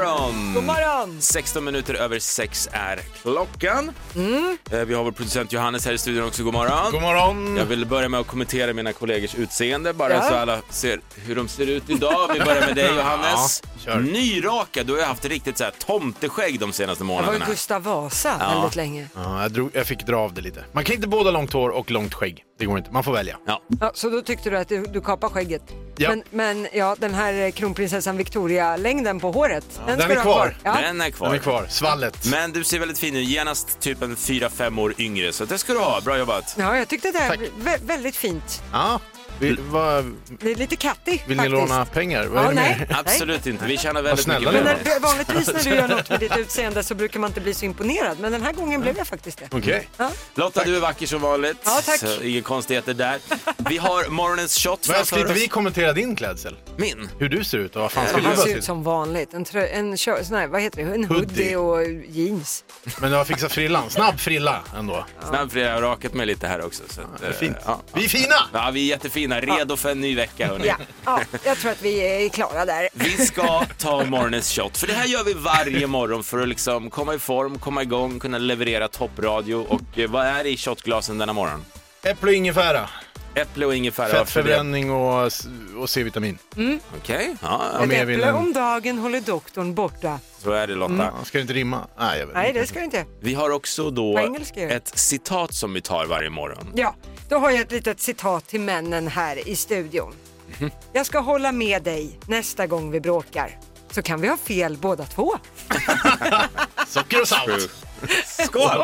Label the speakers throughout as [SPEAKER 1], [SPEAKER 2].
[SPEAKER 1] morgon!
[SPEAKER 2] God morgon!
[SPEAKER 1] 16 minuter över 6 är klockan.
[SPEAKER 2] Mm.
[SPEAKER 1] Eh, Vi har vår producent Johannes här i studion också. God morgon!
[SPEAKER 3] God morgon!
[SPEAKER 1] Jag vill börja med att kommentera mina kollegors utseende, bara
[SPEAKER 2] Ja.
[SPEAKER 1] så alla ser hur de ser ut idag. Vi börjar med dig Johannes.
[SPEAKER 3] Ja, kör.
[SPEAKER 1] Nyrakad, du har ju haft riktigt så här tomteskägg de senaste
[SPEAKER 2] Jag var ju
[SPEAKER 1] månaderna.
[SPEAKER 2] Gustav Vasa
[SPEAKER 1] Ja.
[SPEAKER 2] väldigt länge.
[SPEAKER 3] Ja, jag, drog, jag fick dra av det lite. Man kan inte både ha långt hår och långt skägg. Det går inte. Man får välja.
[SPEAKER 1] Ja.
[SPEAKER 2] Ja, så då tyckte du att du, du kapade skägget.
[SPEAKER 3] Ja.
[SPEAKER 2] Men, men ja, den här eh, kronprinsessan Victoria-längden på håret, den,
[SPEAKER 3] den
[SPEAKER 2] ska
[SPEAKER 3] är
[SPEAKER 2] du ha kvar.
[SPEAKER 3] kvar.
[SPEAKER 2] Ja.
[SPEAKER 1] Den är kvar.
[SPEAKER 3] Den är kvar. Svallet.
[SPEAKER 1] Men du ser väldigt fin ut, genast typ en 4-5 år yngre, så det ska du ha. Bra jobbat!
[SPEAKER 2] ja, jag tyckte det här
[SPEAKER 3] Tack.
[SPEAKER 2] var vä- väldigt fint.
[SPEAKER 3] Ja. Vi, vad- vill
[SPEAKER 2] Det är lite kattig
[SPEAKER 3] ni
[SPEAKER 2] faktiskt.
[SPEAKER 3] låna pengar? Vad
[SPEAKER 2] Ja,
[SPEAKER 3] är det
[SPEAKER 2] nej.
[SPEAKER 3] mer?
[SPEAKER 1] Absolut inte, vi tjänar väldigt
[SPEAKER 3] snälla
[SPEAKER 1] mycket
[SPEAKER 3] ni
[SPEAKER 2] Men
[SPEAKER 1] pengar.
[SPEAKER 3] var.
[SPEAKER 2] när, vanligtvis när du gör något med ditt utseende så brukar man inte bli så imponerad, men den här gången blev jag faktiskt det.
[SPEAKER 3] Okej.
[SPEAKER 2] Ja.
[SPEAKER 1] Lotta, du är vacker som vanligt.
[SPEAKER 2] Ja, tack.
[SPEAKER 1] Så inga konstigheter där. Vi har morgonens shot
[SPEAKER 3] Men ska
[SPEAKER 1] framför
[SPEAKER 3] inte vi
[SPEAKER 1] oss.
[SPEAKER 3] kommentera din klädsel?
[SPEAKER 1] Min.
[SPEAKER 3] Hur du ser ut och vad fan
[SPEAKER 2] Och
[SPEAKER 3] skulle du
[SPEAKER 2] han
[SPEAKER 3] ha
[SPEAKER 2] ser ut
[SPEAKER 3] till?
[SPEAKER 2] som vanligt. En, trö- en, kö- sån här, vad heter det? en hoodie
[SPEAKER 3] Hoodie.
[SPEAKER 2] och jeans.
[SPEAKER 3] Men du har fixat frillan. Snabb frilla ändå.
[SPEAKER 1] Snabb för jag har rakat mig lite här också. Så att,
[SPEAKER 3] Det är fint.
[SPEAKER 1] eh, Ja.
[SPEAKER 3] Vi är fina!
[SPEAKER 1] ja, vi är jättefina. Redo för en ny vecka, hörni.
[SPEAKER 2] Ja, ja, jag tror att vi är klara där.
[SPEAKER 1] Vi ska ta morgonens shot, för det här gör vi varje morgon för att liksom komma i form, komma igång, kunna leverera toppradio. Och eh, vad är det i shotglasen denna morgon?
[SPEAKER 3] Äpple och ingefära.
[SPEAKER 1] Äpple och ingefära. varför det?
[SPEAKER 3] Fettförbränning och, s- och C-vitamin.
[SPEAKER 1] Okej, ja,
[SPEAKER 3] Mm.
[SPEAKER 2] Ett
[SPEAKER 3] mer vill
[SPEAKER 2] äpple
[SPEAKER 3] än-
[SPEAKER 2] om dagen håller doktorn borta.
[SPEAKER 1] så är det Lotta.
[SPEAKER 3] Ja, Ska det inte rimma? Nej, jag vet
[SPEAKER 2] Nej,
[SPEAKER 3] inte.
[SPEAKER 2] det ska du inte.
[SPEAKER 1] Vi har också då
[SPEAKER 2] På engelska gör det.
[SPEAKER 1] ett citat som vi tar varje morgon.
[SPEAKER 2] Ja, då har jag ett litet citat till männen här i studion. Jag ska hålla med dig nästa gång vi bråkar. Så kan vi ha fel båda två.
[SPEAKER 3] Socker och salt.
[SPEAKER 1] Skål!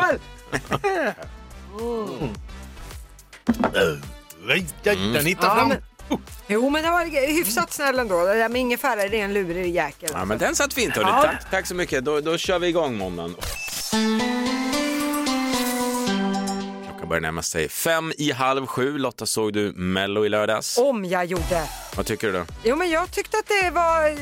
[SPEAKER 3] Nej, jag- Eh, Den hittar
[SPEAKER 2] Ja,
[SPEAKER 3] fram.
[SPEAKER 2] men- Jo, men det var hyfsat snäll ändå. Det där med ingefära, det är en lurig jäkel.
[SPEAKER 1] Ja, men den satt fint, hörni.
[SPEAKER 2] Ja.
[SPEAKER 1] Tack, tack så mycket. Då, då kör vi igång måndagen. Klockan börjar närma sig fem i halv sju. Lotta, såg du Mello i lördags?
[SPEAKER 2] Om jag gjorde.
[SPEAKER 1] Vad tycker du då?
[SPEAKER 2] Jo, men jag tyckte att det var...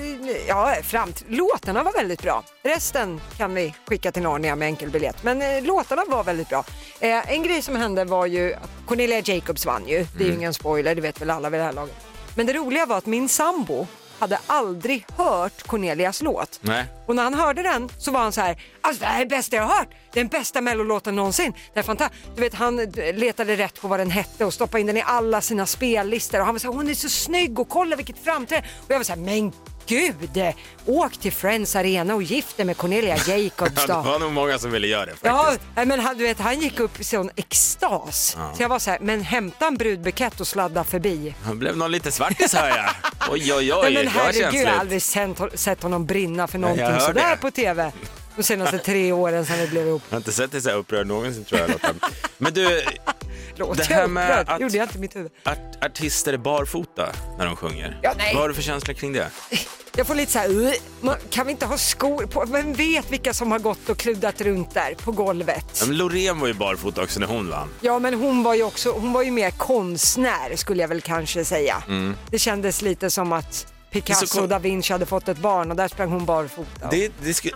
[SPEAKER 2] Ja, framt... Låtarna var väldigt bra. Resten kan vi skicka till Narnia med enkelbiljett. Men eh, låtarna var väldigt bra. Eh, en grej som hände var ju att Cornelia Jacobs vann ju. Det är ju ingen spoiler, det vet väl alla vid det här laget. Men det roliga var att min sambo hade aldrig hört Cornelias låt.
[SPEAKER 1] Nej.
[SPEAKER 2] Och när han hörde den så var han så här, alltså det här är det bästa jag har hört, den bästa mellolåten någonsin. Den är fanta-" du vet, han eh, letade rätt på vad den hette och stoppade in den i alla sina spellistor och han var så här, hon är så snygg och kolla vilket framträdande. Och jag var så här, men gud, eh, åk till Friends Arena och gift dig med Cornelia Jacobs
[SPEAKER 1] Ja, det
[SPEAKER 2] då.
[SPEAKER 1] var nog många som ville göra det
[SPEAKER 2] Ja,
[SPEAKER 1] faktiskt.
[SPEAKER 2] nej, men han, du vet, han gick upp i sån extas. Så jag var så här, men hämta en brudbukett och sladda förbi.
[SPEAKER 1] Han blev någon lite svartis hör jag. Oj, oj, oj.
[SPEAKER 2] Nej, men
[SPEAKER 1] det var
[SPEAKER 2] herregud, jag har
[SPEAKER 1] känsligt.
[SPEAKER 2] aldrig sett, sett honom brinna för någonting
[SPEAKER 1] hör
[SPEAKER 2] sådär
[SPEAKER 1] det.
[SPEAKER 2] på TV de senaste tre åren sedan vi blev ihop.
[SPEAKER 1] Jag har inte sett dig så här upprörd någonsin tror jag Lotta. Men du,
[SPEAKER 2] Låt
[SPEAKER 1] Det
[SPEAKER 2] jag
[SPEAKER 1] här med
[SPEAKER 2] upprörd.
[SPEAKER 1] att-
[SPEAKER 2] gjorde jag inte i mitt huvud.
[SPEAKER 1] art- artister är barfota när de sjunger.
[SPEAKER 2] Ja, nej.
[SPEAKER 1] Vad har du för känsla kring det?
[SPEAKER 2] Jag får lite så här, "Ugh, man, kan vi inte ha skor på? Vem vet vilka som har gått och kluddat runt där på golvet?
[SPEAKER 1] Ja, men Loreen var ju barfota också när hon vann.
[SPEAKER 2] Ja men hon var ju också, hon var ju mer konstnär skulle jag väl kanske säga. Det kändes lite som att
[SPEAKER 1] Mm. Det är så
[SPEAKER 2] Picasso
[SPEAKER 1] kon-
[SPEAKER 2] och da Vinci hade fått ett barn och där sprang hon barfota.
[SPEAKER 1] Det, det sku...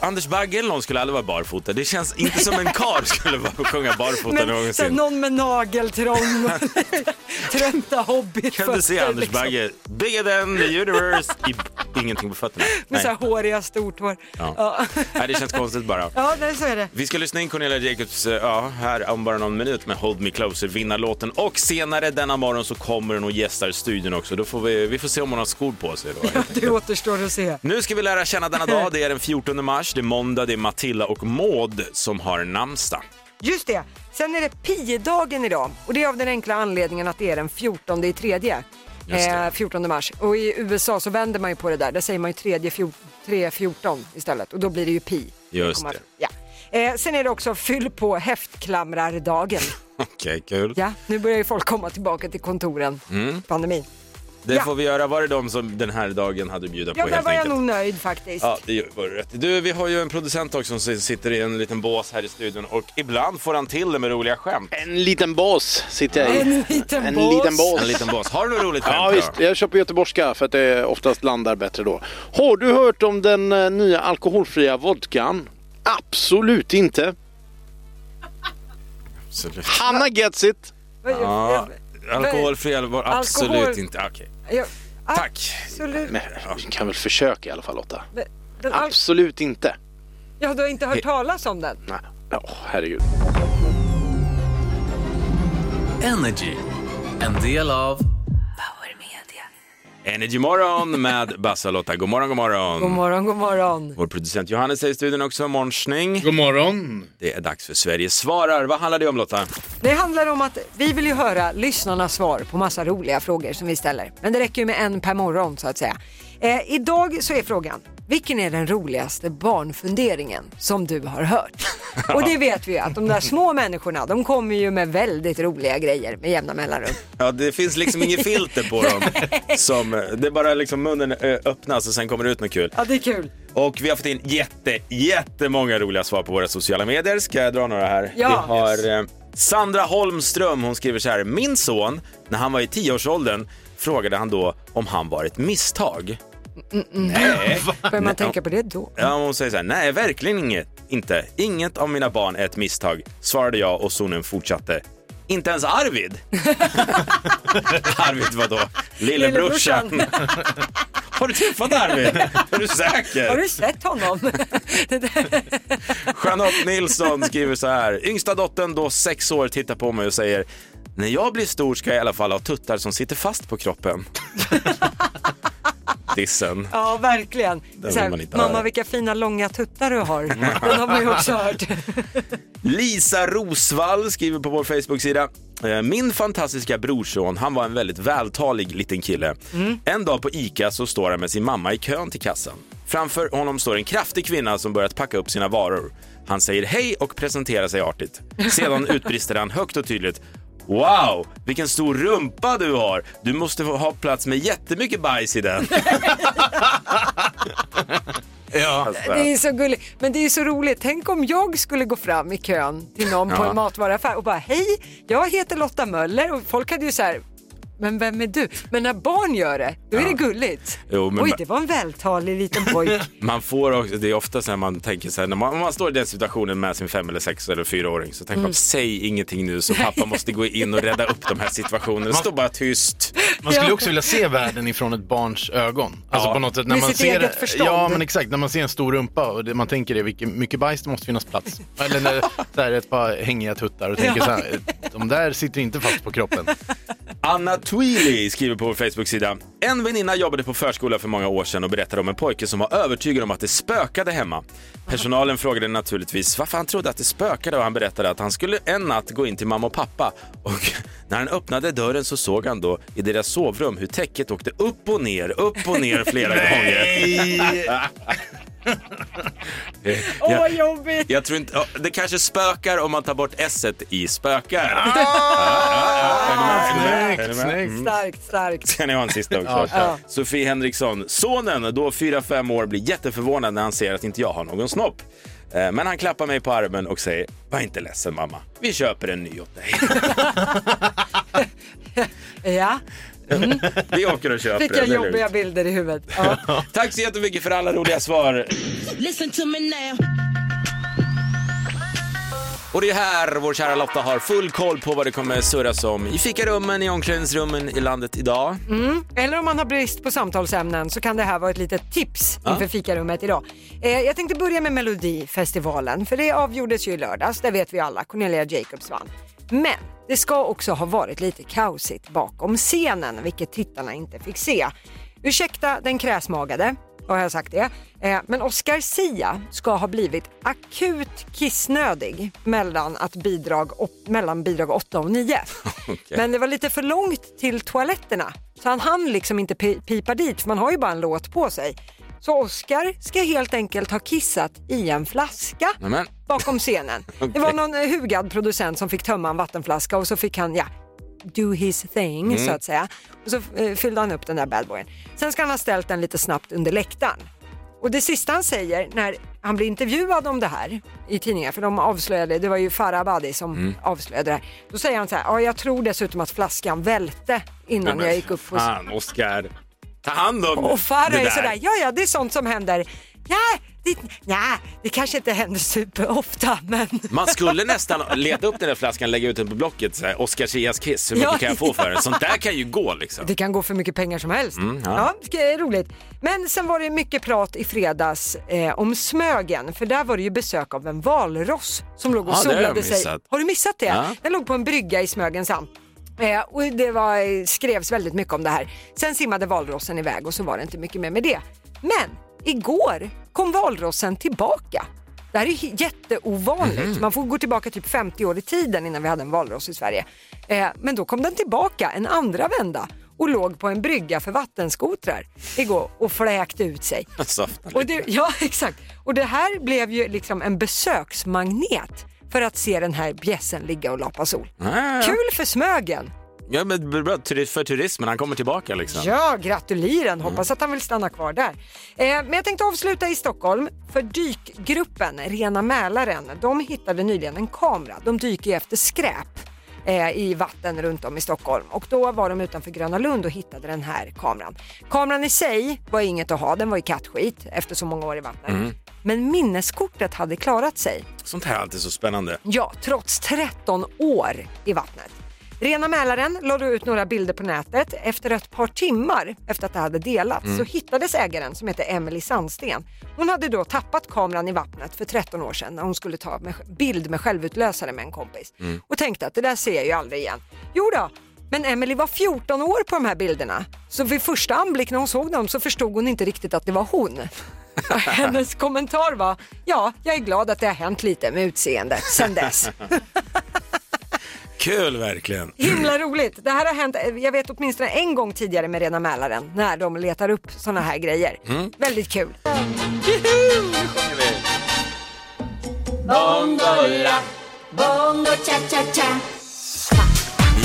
[SPEAKER 1] Anders Bagge eller någon skulle aldrig vara barfota. Det känns inte som en karl skulle vara- sjunga barfota
[SPEAKER 2] Men sen
[SPEAKER 1] någonsin.
[SPEAKER 2] någon med nageltrång och lite trötta hobbyfötter.
[SPEAKER 1] Kan du se Anders
[SPEAKER 2] liksom.
[SPEAKER 1] Bagge, bigger than the universe, i ingenting på fötterna?
[SPEAKER 2] Med
[SPEAKER 1] Nej.
[SPEAKER 2] så här håriga stort hår.
[SPEAKER 1] Ja.
[SPEAKER 2] Ja,
[SPEAKER 1] Nej, det känns konstigt bara.
[SPEAKER 2] ja nej, så är det.
[SPEAKER 1] Vi ska lyssna in Cornelia Jacobs eh, ja, här om bara någon minut med Hold Me Closer, vinnarlåten. Och senare denna morgon så kommer hon och gästar studion också. Då får vi, vi får se om hon har skor på sig då. helt enkelt.
[SPEAKER 2] Det återstår att se.
[SPEAKER 1] Nu ska vi lära känna denna dag. Det är den 14 mars, det är måndag, det är Matilda och Maud som har namnsdag.
[SPEAKER 2] Just det. Sen är det pi-dagen idag och det är av den enkla anledningen att det är den 14 i tredje.
[SPEAKER 1] Just det.
[SPEAKER 2] Eh, 14 mars. Och i USA så vänder man ju på det där. Där säger man ju tredje fjor- tre 14 istället och då blir det ju pi.
[SPEAKER 1] Just
[SPEAKER 2] Komma-
[SPEAKER 1] det.
[SPEAKER 2] Ja. Eh, sen är det också fyll på häftklamrardagen.
[SPEAKER 1] Okej, kul.
[SPEAKER 2] Ja, nu börjar ju folk komma tillbaka till kontoren.
[SPEAKER 1] Mm.
[SPEAKER 2] Pandemin.
[SPEAKER 1] Det
[SPEAKER 2] Ja.
[SPEAKER 1] får vi göra. Var det de som den här dagen hade att bjuda
[SPEAKER 2] Ja,
[SPEAKER 1] på
[SPEAKER 2] där
[SPEAKER 1] helt
[SPEAKER 2] var jag
[SPEAKER 1] enkelt?
[SPEAKER 2] nog nöjd faktiskt.
[SPEAKER 1] Ja, det gör- var rätt. Du, vi har ju en producent också som sitter i en liten bås här i studion och ibland får han till det med roliga skämt.
[SPEAKER 4] En liten bås sitter jag i.
[SPEAKER 2] En liten
[SPEAKER 4] en
[SPEAKER 2] bås.
[SPEAKER 4] Liten bås.
[SPEAKER 1] En liten bås. Har du något roligt skämt?
[SPEAKER 4] Ja
[SPEAKER 1] då?
[SPEAKER 4] visst, jag kör på göteborgska för att det oftast landar bättre då. Har du hört om den eh, nya alkoholfria vodkan? Absolut inte.
[SPEAKER 1] Absolut.
[SPEAKER 4] Hanna gets it.
[SPEAKER 2] Vad gör-
[SPEAKER 1] Ja,
[SPEAKER 2] jag-
[SPEAKER 1] alkoholfri var absolut
[SPEAKER 2] Alkohol-
[SPEAKER 1] inte... Okej,
[SPEAKER 2] jag-
[SPEAKER 1] tack.
[SPEAKER 2] Absolut.
[SPEAKER 4] Men vi kan väl försöka i alla fall Lotta.
[SPEAKER 2] Den al-
[SPEAKER 4] Absolut inte.
[SPEAKER 2] ja, du har inte hört talas om den?
[SPEAKER 4] Nej. Åh, herregud.
[SPEAKER 5] Energy. En del av
[SPEAKER 6] Power Media.
[SPEAKER 1] Energy morgon med Bassa-Lotta. God morgon, god morgon.
[SPEAKER 2] God morgon, god morgon.
[SPEAKER 1] Vår producent Johannes är i studion också, morgonsning.
[SPEAKER 3] God morgon.
[SPEAKER 1] Det är dags för Sverige svarar. Vad handlar det om Lotta?
[SPEAKER 2] Det handlar om att vi vill ju höra lyssnarnas svar på massa roliga frågor som vi ställer. Men det räcker ju med en per morgon så att säga. Eh, idag så är frågan, vilken är den roligaste barnfunderingen som du har hört? Och det vet vi ju att de där små människorna, de kommer ju med väldigt roliga grejer med jämna mellanrum.
[SPEAKER 1] Ja, det finns liksom inget filter på dem. Som, det är bara liksom munnen ö, öppnas och sen kommer det ut något kul.
[SPEAKER 2] Ja, det är kul.
[SPEAKER 1] Och vi har fått in jätte, jättemånga roliga svar på våra sociala medier. Ska jag dra några här?
[SPEAKER 2] Ja.
[SPEAKER 1] Vi har eh, Sandra Holmström, hon skriver så här. Min son, när han var i tioårsåldern, frågade han då om han var ett misstag. Nej.
[SPEAKER 2] Bör man tänka på det då?
[SPEAKER 1] Ja, hon säger så här, nej verkligen inget, inte. Inget av mina barn är ett misstag, svarade jag och sonen fortsatte. Inte ens Arvid. Arvid vadå? Lillebrorsan. Har du träffat Arvid? Är du säker?
[SPEAKER 2] Har du sett honom? Det där-
[SPEAKER 1] Jeanette Nilsson skriver så här. Yngsta dottern, då sex år, tittar på mig och säger när jag blir stor ska jag i alla fall ha tuttar som sitter fast på kroppen. Dissen.
[SPEAKER 2] ja, verkligen.
[SPEAKER 1] vill
[SPEAKER 2] Så här,
[SPEAKER 1] man inte
[SPEAKER 2] Mamma,
[SPEAKER 1] höra."
[SPEAKER 2] vilka fina långa tuttar du har. Den har man ju också hört.
[SPEAKER 1] Lisa Rosvall skriver på vår Facebook-sida. "Eh, Min fantastiska brorson, han var en väldigt vältalig liten kille. En dag på ICA så står han med sin mamma i kön till kassan. Framför honom står en kraftig kvinna som börjat packa upp sina varor. Han säger hej och presenterar sig artigt. Sedan utbrister han högt och tydligt. Wow, vilken stor rumpa du har! Du måste få ha plats med jättemycket bajs i den.
[SPEAKER 3] Ja.
[SPEAKER 1] Alltså.
[SPEAKER 2] Det är så gulligt. Men det är så roligt. Tänk om jag skulle gå fram i kön till någon på
[SPEAKER 1] Ja.
[SPEAKER 2] en matvaruaffär och bara hej, jag heter Lotta Möller och folk hade ju så här men vem är du? Men när barn gör det, då är det gulligt.
[SPEAKER 1] Jo, men-
[SPEAKER 2] Oj, det var en vältalig liten pojk.
[SPEAKER 1] Man får också, det är ofta så här man tänker så här, när man, om man står i den situationen med sin fem eller sex eller fyraåring så tänker man säg ingenting nu så pappa måste gå in och rädda upp de här situationerna. Stå bara tyst.
[SPEAKER 3] Man skulle
[SPEAKER 2] Ja.
[SPEAKER 3] också vilja se världen ifrån ett barns ögon. Alltså
[SPEAKER 1] Ja.
[SPEAKER 3] på något sätt när
[SPEAKER 2] Med
[SPEAKER 3] man
[SPEAKER 2] sitt
[SPEAKER 3] ser
[SPEAKER 2] eget förstånd.
[SPEAKER 3] Ja, men exakt. När man ser en stor rumpa och det, man tänker det, vilket, mycket bajs det måste finnas plats. Eller när, så här, ett par hängiga tuttar och tänker så här, de där sitter inte fast på kroppen.
[SPEAKER 1] Anna Tweely skriver på vår Facebook-sida. En väninna jobbade på förskola för många år sedan och berättade om en pojke som var övertygad om att det spökade hemma. Personalen frågade naturligtvis varför han trodde att det spökade och han berättade att han skulle en natt gå in till mamma och pappa och när han öppnade dörren så såg han då i deras sovrum hur täcket åkte upp och ner, upp och ner flera gånger.
[SPEAKER 2] Åh,
[SPEAKER 1] Ja.
[SPEAKER 2] vad jobbigt!
[SPEAKER 1] Eh, Jag tror inte, ja, det kanske spökar om man tar bort s i spökar.
[SPEAKER 3] Snyggt, snyggt.
[SPEAKER 2] Starkt, starkt.
[SPEAKER 1] Ska ni ha en sista också? Sofie Henriksson. Sonen, då 4-5 år, blir jätteförvånad när han ser att inte jag har någon snopp. Eh, Men han klappar mig på armen och säger, var inte ledsen mamma, vi köper en ny åt dig.
[SPEAKER 2] Ja,
[SPEAKER 1] Vi åker och köper
[SPEAKER 2] fick jag
[SPEAKER 1] den, det är
[SPEAKER 2] jobbiga
[SPEAKER 1] lugnt.
[SPEAKER 2] bilder i huvudet. Ja.
[SPEAKER 1] Tack så jättemycket för alla roliga svar.
[SPEAKER 7] Listen to me now.
[SPEAKER 1] Och det är här vår kära Lotta har full koll på vad det kommer surras om i fikarummen, i omklädningsrummen i landet idag.
[SPEAKER 2] Mm. Eller om man har brist på samtalsämnen så kan det här vara ett litet tips inför fikarummet idag. Eh, jag tänkte börja med Melodifestivalen för det avgjordes ju i lördags, det vet vi alla, Cornelia Jacobs vann. Men det ska också ha varit lite kaosigt bakom scenen vilket tittarna inte fick se. Ursäkta den kräsmagade, har jag sagt det. Eh, men Oscar Sia ska ha blivit akut kissnödig mellan, att bidrag, op, mellan bidrag 8 och 9. Men det var lite för långt till toaletterna så han hann liksom inte pi- pipa dit för man har ju bara en låt på sig. Så Oscar ska helt enkelt ha kissat i en flaska
[SPEAKER 1] Nämen.
[SPEAKER 2] bakom scenen. Det var någon eh, hugad producent som fick tömma en vattenflaska och så fick han, ja, do his thing
[SPEAKER 1] Mm.
[SPEAKER 2] så att säga. Och så eh, fyllde han upp den där badboyen. Sen ska han ha ställt den lite snabbt under läktaren. Och det sista han säger när han blir intervjuad om det här i tidningar, för de avslöjade, det var ju Farah Abadi som
[SPEAKER 1] Mm.
[SPEAKER 2] avslöjade det här. Då säger han så här, ja jag tror dessutom att flaskan välte innan jag gick upp på
[SPEAKER 1] Fan, Oskar. Ta hand om
[SPEAKER 2] och Farah
[SPEAKER 1] det
[SPEAKER 2] är
[SPEAKER 1] där.
[SPEAKER 2] sådär, ja ja det är sånt som händer. Nej, det, nej, det kanske inte händer superofta, men...
[SPEAKER 1] Man skulle nästan leta upp den där flaskan, lägga ut den på Blocket. så här, Oscar Zias kiss, hur
[SPEAKER 2] Ja,
[SPEAKER 1] mycket kan jag få för
[SPEAKER 2] ja.
[SPEAKER 1] den? Sånt där kan ju gå liksom. Mm,
[SPEAKER 2] Det kan gå för mycket pengar som helst. ja.
[SPEAKER 1] ja.
[SPEAKER 2] det är roligt. Men sen var det mycket prat i fredags eh, om Smögen, för där var det ju besök av en valross som låg och
[SPEAKER 1] Ja, det har jag
[SPEAKER 2] solade sig.
[SPEAKER 1] missat.
[SPEAKER 2] Har du missat det?
[SPEAKER 1] Ja.
[SPEAKER 2] Den låg på en brygga i Smögens hamn. Eh, och det var, skrevs väldigt mycket om det här. Sen simmade valrossen iväg och så var det inte mycket mer med det. Men igår kom valrossen tillbaka. Det här är ju jätteovanligt. Man får gå tillbaka typ 50 år i tiden innan vi hade en valross i Sverige. Eh, men då kom den tillbaka en andra vända och låg på en brygga för vattenskotrar igår och fläkte ut sig.
[SPEAKER 1] Saftigt.
[SPEAKER 2] Och det, ja, exakt. Och det här blev ju liksom en besöksmagnet för att se den här bjässen ligga och lapa sol.
[SPEAKER 1] liksom. Ah, Ja, ja.
[SPEAKER 2] Kul för Smögen!
[SPEAKER 1] Ja, men bra turi- för turismen, han kommer tillbaka liksom.
[SPEAKER 2] Ja, gratuliren! Hoppas att han vill stanna kvar där. Eh, men jag tänkte avsluta i Stockholm, för dykgruppen Rena Mälaren, de hittade nyligen en kamera. De dyker ju efter skräp eh, i vatten runt om i Stockholm och då var de utanför Gröna Lund och hittade den här kameran. Kameran i sig var inget att ha, den var ju kattskit efter så många år i vattnet. Men minneskortet hade klarat sig.
[SPEAKER 1] Sånt här är alltid så spännande.
[SPEAKER 2] Ja, trots 13 år i vattnet. Rena Mälaren lade ut några bilder på nätet. Efter ett par timmar efter att det hade delats så hittades ägaren som heter Emily Sandsten. Hon hade då tappat kameran i vattnet för 13 år sedan när hon skulle ta med, bild med självutlösare med en kompis och tänkte att det där ser jag ju aldrig igen. Jo då, men Emily var 14 år på de här bilderna så vid första anblick när hon såg dem så förstod hon inte riktigt att det var hon. Och Hennes kommentar var, ja, jag är glad att det har hänt lite med utseendet sedan dess.
[SPEAKER 1] Kul verkligen.
[SPEAKER 2] Himla roligt! Det här har hänt, eh, jag vet åtminstone en gång tidigare med Rena Mälaren, när de letar upp sådana här grejer. Väldigt kul.
[SPEAKER 7] Bongo cha cha cha.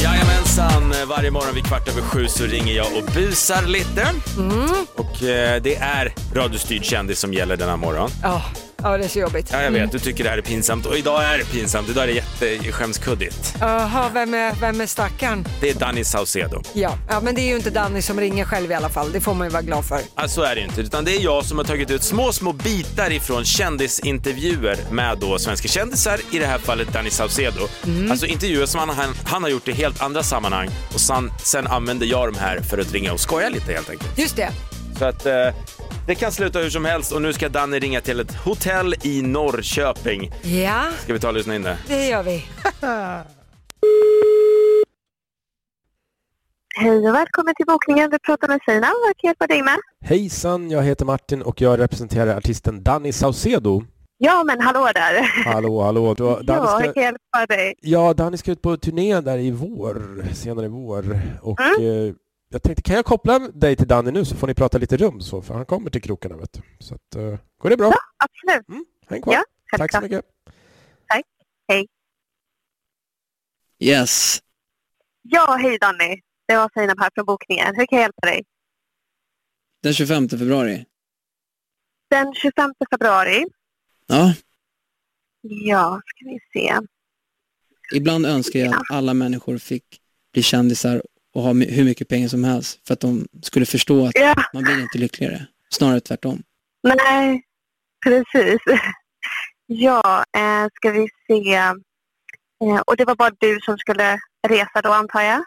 [SPEAKER 1] Jajamensan, varje morgon vid kvart över sju så ringer jag och busar lite.
[SPEAKER 2] Mm.
[SPEAKER 1] Och eh, det är radiostyrd kändis som gäller denna morgon.
[SPEAKER 2] Ja, ja, det är så jobbigt.
[SPEAKER 1] Ja, jag vet, du tycker det här är pinsamt och idag är det pinsamt. Idag är det jätteskämskuddigt.
[SPEAKER 2] Jaha, vem är, vem är stackaren?
[SPEAKER 1] Det är Danny Saucedo.
[SPEAKER 2] Ja. ja, men det är ju inte Danny som ringer själv i alla fall, det får man ju vara glad för.
[SPEAKER 1] Ja, så är det ju inte, utan det är jag som har tagit ut små, små bitar ifrån kändisintervjuer med då svenska kändisar, i det här fallet Danny Saucedo. Alltså intervjuer som han, han, han har gjort i helt andra sammanhang och sen, sen använder jag de här för att ringa och skoja lite helt enkelt.
[SPEAKER 2] Just det,
[SPEAKER 1] Så att eh, det kan sluta hur som helst och nu ska Danny ringa till ett hotell i Norrköping.
[SPEAKER 2] ja,
[SPEAKER 1] Ska vi ta och lyssna in det?
[SPEAKER 2] det gör vi.
[SPEAKER 6] Hej och välkommen till bokningen. Du pratar med Sina. Vad kan jag hjälpa dig med?
[SPEAKER 8] Hejsan, jag heter Martin och jag representerar artisten Danny Saucedo.
[SPEAKER 6] Ja, men hallå där.
[SPEAKER 8] Hallå, hallå. Du, Danny,
[SPEAKER 6] Ja,
[SPEAKER 8] ska,
[SPEAKER 6] jag kan hjälpa dig.
[SPEAKER 8] ja, Danny ska ut på turné där i vår, senare i vår. Och eh, jag tänkte, kan jag koppla dig till Danny nu så får ni prata lite rum så, för han kommer till krokarna vet du. Så att, eh, går det bra?
[SPEAKER 6] Absolut.
[SPEAKER 8] Häng kvar.
[SPEAKER 6] Ja,
[SPEAKER 8] Mm, Tack så
[SPEAKER 6] självklart.
[SPEAKER 8] mycket.
[SPEAKER 5] Yes.
[SPEAKER 6] Ja, hej Danny. Det var Sina här från bokningen. Hur kan jag hjälpa dig?
[SPEAKER 5] Den 25 februari.
[SPEAKER 6] Den 25 februari.
[SPEAKER 5] Ja,
[SPEAKER 6] Ja, ska vi se.
[SPEAKER 5] ibland önskar jag att alla människor fick bli kändisar och ha my- hur mycket pengar som helst för att de skulle förstå att
[SPEAKER 6] Ja,
[SPEAKER 5] man blir inte lyckligare. Snarare tvärtom.
[SPEAKER 6] nej, precis. Ja, eh, ska vi se. Eh, och det var bara du som skulle resa då, antar jag?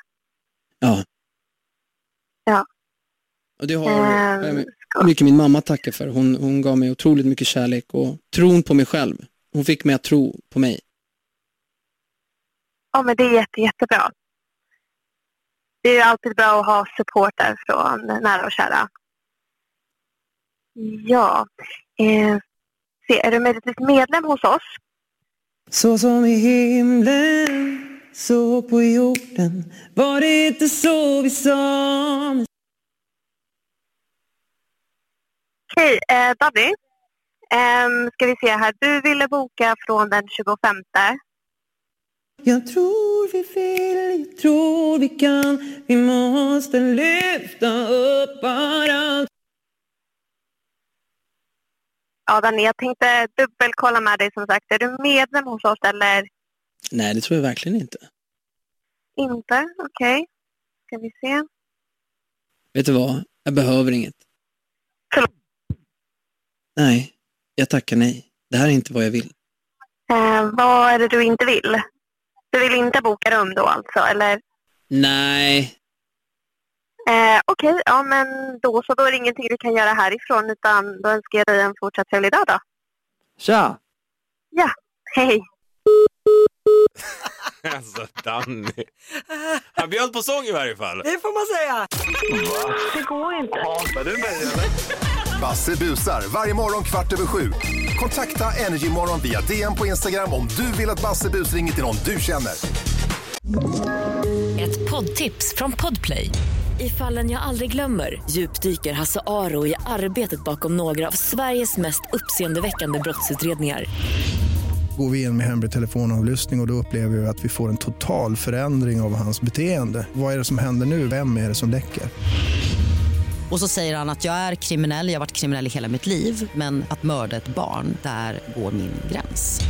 [SPEAKER 5] Och det har ehm,
[SPEAKER 6] Eh,
[SPEAKER 5] mycket min mamma tacka för. Hon, hon gav mig otroligt mycket kärlek och tron på mig själv. Hon fick mig att tro på mig.
[SPEAKER 6] Ja, men det är jätte, jättebra. Det är ju alltid bra att ha support där från nära och kära. Ja. Eh, se, är du möjligtvis medlem hos oss?
[SPEAKER 9] Så som i himlen, så på jorden var det inte så vi sa
[SPEAKER 6] Okej, eh, Daddy. Ehm, ska vi se här. Du ville boka från den 25.
[SPEAKER 9] Jag tror vi vill, jag tror vi kan Vi måste lyfta upp varandra
[SPEAKER 6] Ja, Danny, jag tänkte dubbelkolla med dig som sagt. Är du medlem hos oss eller
[SPEAKER 5] Nej, det tror jag verkligen inte.
[SPEAKER 6] inte? Okej. Ska vi se.
[SPEAKER 5] Vet du vad? Jag behöver inget. Nej, jag tackar nej. Det här är inte vad jag vill.
[SPEAKER 6] Eh, vad är det du inte vill? Du vill inte boka rum då alltså, eller?
[SPEAKER 5] Nej,
[SPEAKER 6] Eh, Okej, ja men då så. Då är det ingenting du kan göra härifrån utan då önskar jag dig en fortsatt trevlig dag då.
[SPEAKER 9] Tja!
[SPEAKER 6] Hej!
[SPEAKER 1] Alltså Danny. Han bjöd på sång i varje fall.
[SPEAKER 2] Det får man säga.
[SPEAKER 6] Det går inte.
[SPEAKER 10] Basse busar varje morgon kvart över sju. Kontakta Energymorgon via DM på Instagram om du vill att Basse bus ringer till någon du känner.
[SPEAKER 11] Ett poddtips från Podplay. I fallen jag aldrig glömmer djupdyker Hasse Aro i arbetet bakom några av Sveriges mest uppseendeväckande brottsutredningar.
[SPEAKER 9] Går vi in med hemlig telefonavlyssning och, och då upplever vi att vi får en total förändring av hans beteende. Vad är det som händer nu? Vem är det som läcker?
[SPEAKER 11] Och så säger han att jag är kriminell, jag har varit kriminell i hela mitt liv men att mörda ett barn, där går min gräns.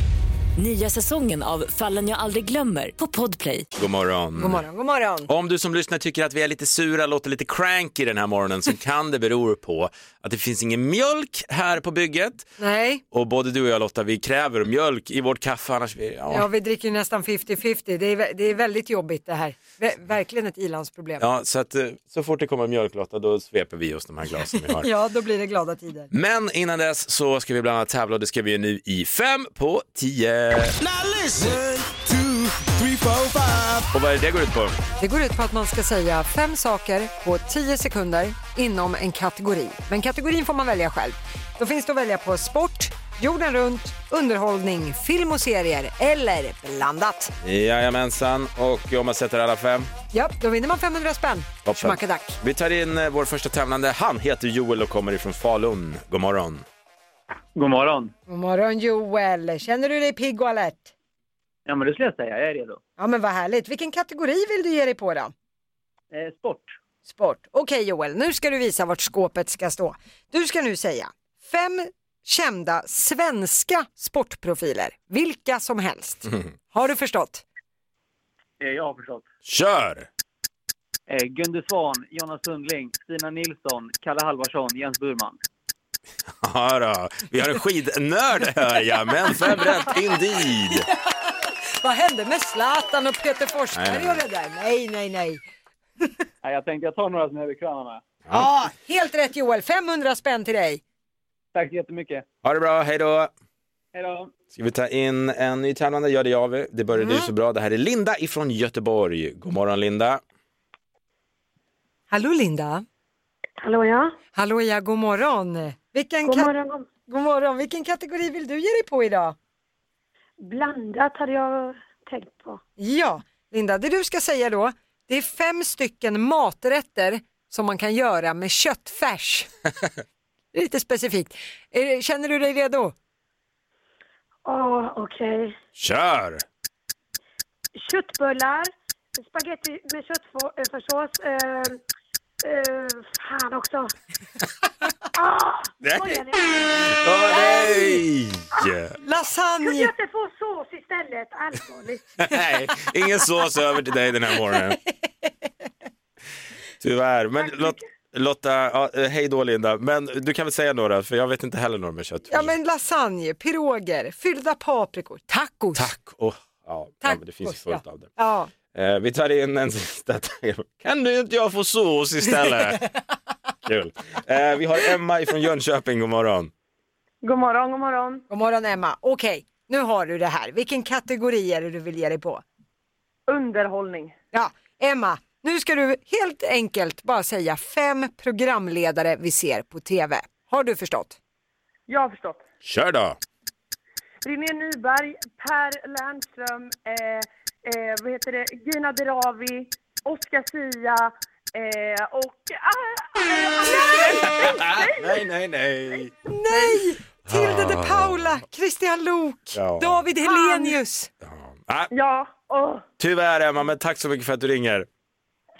[SPEAKER 11] Nya säsongen av Fallen jag aldrig glömmer på Podplay.
[SPEAKER 1] God morgon.
[SPEAKER 2] God morgon, god morgon.
[SPEAKER 1] Om du som lyssnar tycker att vi är lite sura, låter lite cranky den här morgonen så kan det bero på att det finns ingen mjölk här på bygget.
[SPEAKER 2] Nej,
[SPEAKER 1] Och både du och jag Lotta, vi kräver mjölk i vårt kaffe annars... Vi, ja.
[SPEAKER 2] ja,
[SPEAKER 1] Ja.
[SPEAKER 2] vi dricker ju nästan 50-50. Det är, vä- det är väldigt jobbigt det här. Ver- Verkligen ett ilandsproblem.
[SPEAKER 1] så att eh, så fort det kommer mjölk Lotta, då sveper vi oss de här glasen vi har.
[SPEAKER 2] Ja, då blir det glada tider.
[SPEAKER 1] Men innan dess så ska vi bland annat tävla och det ska vi ju nu i fem på tio. Och vad är det det går ut på?
[SPEAKER 2] Det går ut på att man ska säga fem saker på 10 sekunder inom en kategori. Men kategorin får man välja själv. Då finns det att välja på sport, jorden runt, underhållning, film och serier eller blandat.
[SPEAKER 1] Jajamensan, och om man sätter alla fem.
[SPEAKER 2] Ja, då vinner man 500 spänn.
[SPEAKER 1] Toppen.
[SPEAKER 2] Schmackadack.
[SPEAKER 1] Vi tar in eh, vår första tävlande. Han heter Joel och kommer ifrån Falun. God morgon.
[SPEAKER 9] God morgon.
[SPEAKER 2] God morgon Joel. Känner du dig pigg och alert?
[SPEAKER 9] Ja, men det skulle jag säga. Jag är redo.
[SPEAKER 2] Ja, men vad härligt. Vilken kategori vill du ge dig på då?
[SPEAKER 9] Eh, sport.
[SPEAKER 2] Sport. Okej Joel, nu ska du visa vart skåpet ska stå. Du ska nu säga fem kända svenska sportprofiler, vilka som helst. Har du förstått?
[SPEAKER 9] Eh, jag har förstått.
[SPEAKER 1] Kör!
[SPEAKER 9] Eh, Gunde Svan, Jonas Sundling, Stina Nilsson, Kalle Halvarsson, Jens Burman.
[SPEAKER 1] Ja, då. Vi har en skidnörd hör jag, men fem rätt indeed.
[SPEAKER 2] Vad hände med Zlatan och Peter Forsberg
[SPEAKER 1] Nej,
[SPEAKER 2] och det där? Nej, nej, nej.
[SPEAKER 9] Nej, jag tänkte jag tar några som jag är bekväma med.
[SPEAKER 2] Ja, helt rätt Joel. 500 spänn till dig.
[SPEAKER 9] Tack så jättemycket.
[SPEAKER 1] Ha det bra, hej då.
[SPEAKER 9] Hej då. Mm.
[SPEAKER 1] Ska vi ta in en ny tävlande? Ja, det gör vi. Det började ju så bra. Det här är Linda ifrån Göteborg. God morgon Linda.
[SPEAKER 2] Hallå Linda.
[SPEAKER 6] Hallå ja?
[SPEAKER 2] Hallå ja, god morgon. Vilken
[SPEAKER 6] God
[SPEAKER 2] ka-
[SPEAKER 6] morgon.
[SPEAKER 2] god morgon. Vilken kategori vill du ge dig på idag?
[SPEAKER 6] Blandat hade jag tänkt på.
[SPEAKER 2] Ja, Linda, det du ska säga då, det är fem stycken maträtter som man kan göra med köttfärs. Lite specifikt. Är det- Känner du dig redo?
[SPEAKER 6] Åh, okej.
[SPEAKER 1] Kör!
[SPEAKER 6] Köttbullar, spaghetti med köttfärssås. Eh, eh, fan också. Ah, skojar ni?
[SPEAKER 1] Åh nej!
[SPEAKER 6] Kunde
[SPEAKER 2] Lasagne!
[SPEAKER 6] jag inte få sås istället? Allvarligt.
[SPEAKER 1] Nej, ingen sås över till dig den här morgonen. Tyvärr, men Lot- Lotta, ja, eh, hej då Linda. Men du kan väl säga några, för jag vet inte heller några med kött.
[SPEAKER 2] Ja, men lasagne, piroger, fyllda paprikor, tacos.
[SPEAKER 1] Tack! Och, ja, ja, men det finns ju
[SPEAKER 2] Tacos,
[SPEAKER 1] fullt
[SPEAKER 2] ja.
[SPEAKER 1] av det.
[SPEAKER 2] Ja,
[SPEAKER 1] Eh, vi tar in en sista. Kan du inte jag få sås istället? Kul. Eh, vi har Emma ifrån Jönköping, god morgon.
[SPEAKER 6] God morgon, god morgon.
[SPEAKER 2] god morgon Emma. Okej, nu har du det här. Vilken kategori är det du vill ge dig på?
[SPEAKER 6] Underhållning.
[SPEAKER 2] Ja, Emma, nu ska du helt enkelt bara säga fem programledare vi ser på TV. Har du förstått?
[SPEAKER 6] Jag har förstått.
[SPEAKER 1] Kör då!
[SPEAKER 6] René Nyberg, Per Lernström, eh, eh, vad heter det? Gina Dirawi, Oscar Sia eh, och... Ah,
[SPEAKER 1] nej, nej, nej.
[SPEAKER 2] Nej! Tilde de Paula, Christian Lok,
[SPEAKER 1] Ja.
[SPEAKER 2] David Helenius.
[SPEAKER 1] Ah,
[SPEAKER 6] ja, åh,
[SPEAKER 1] tyvärr Emma, men tack så mycket för att du ringer.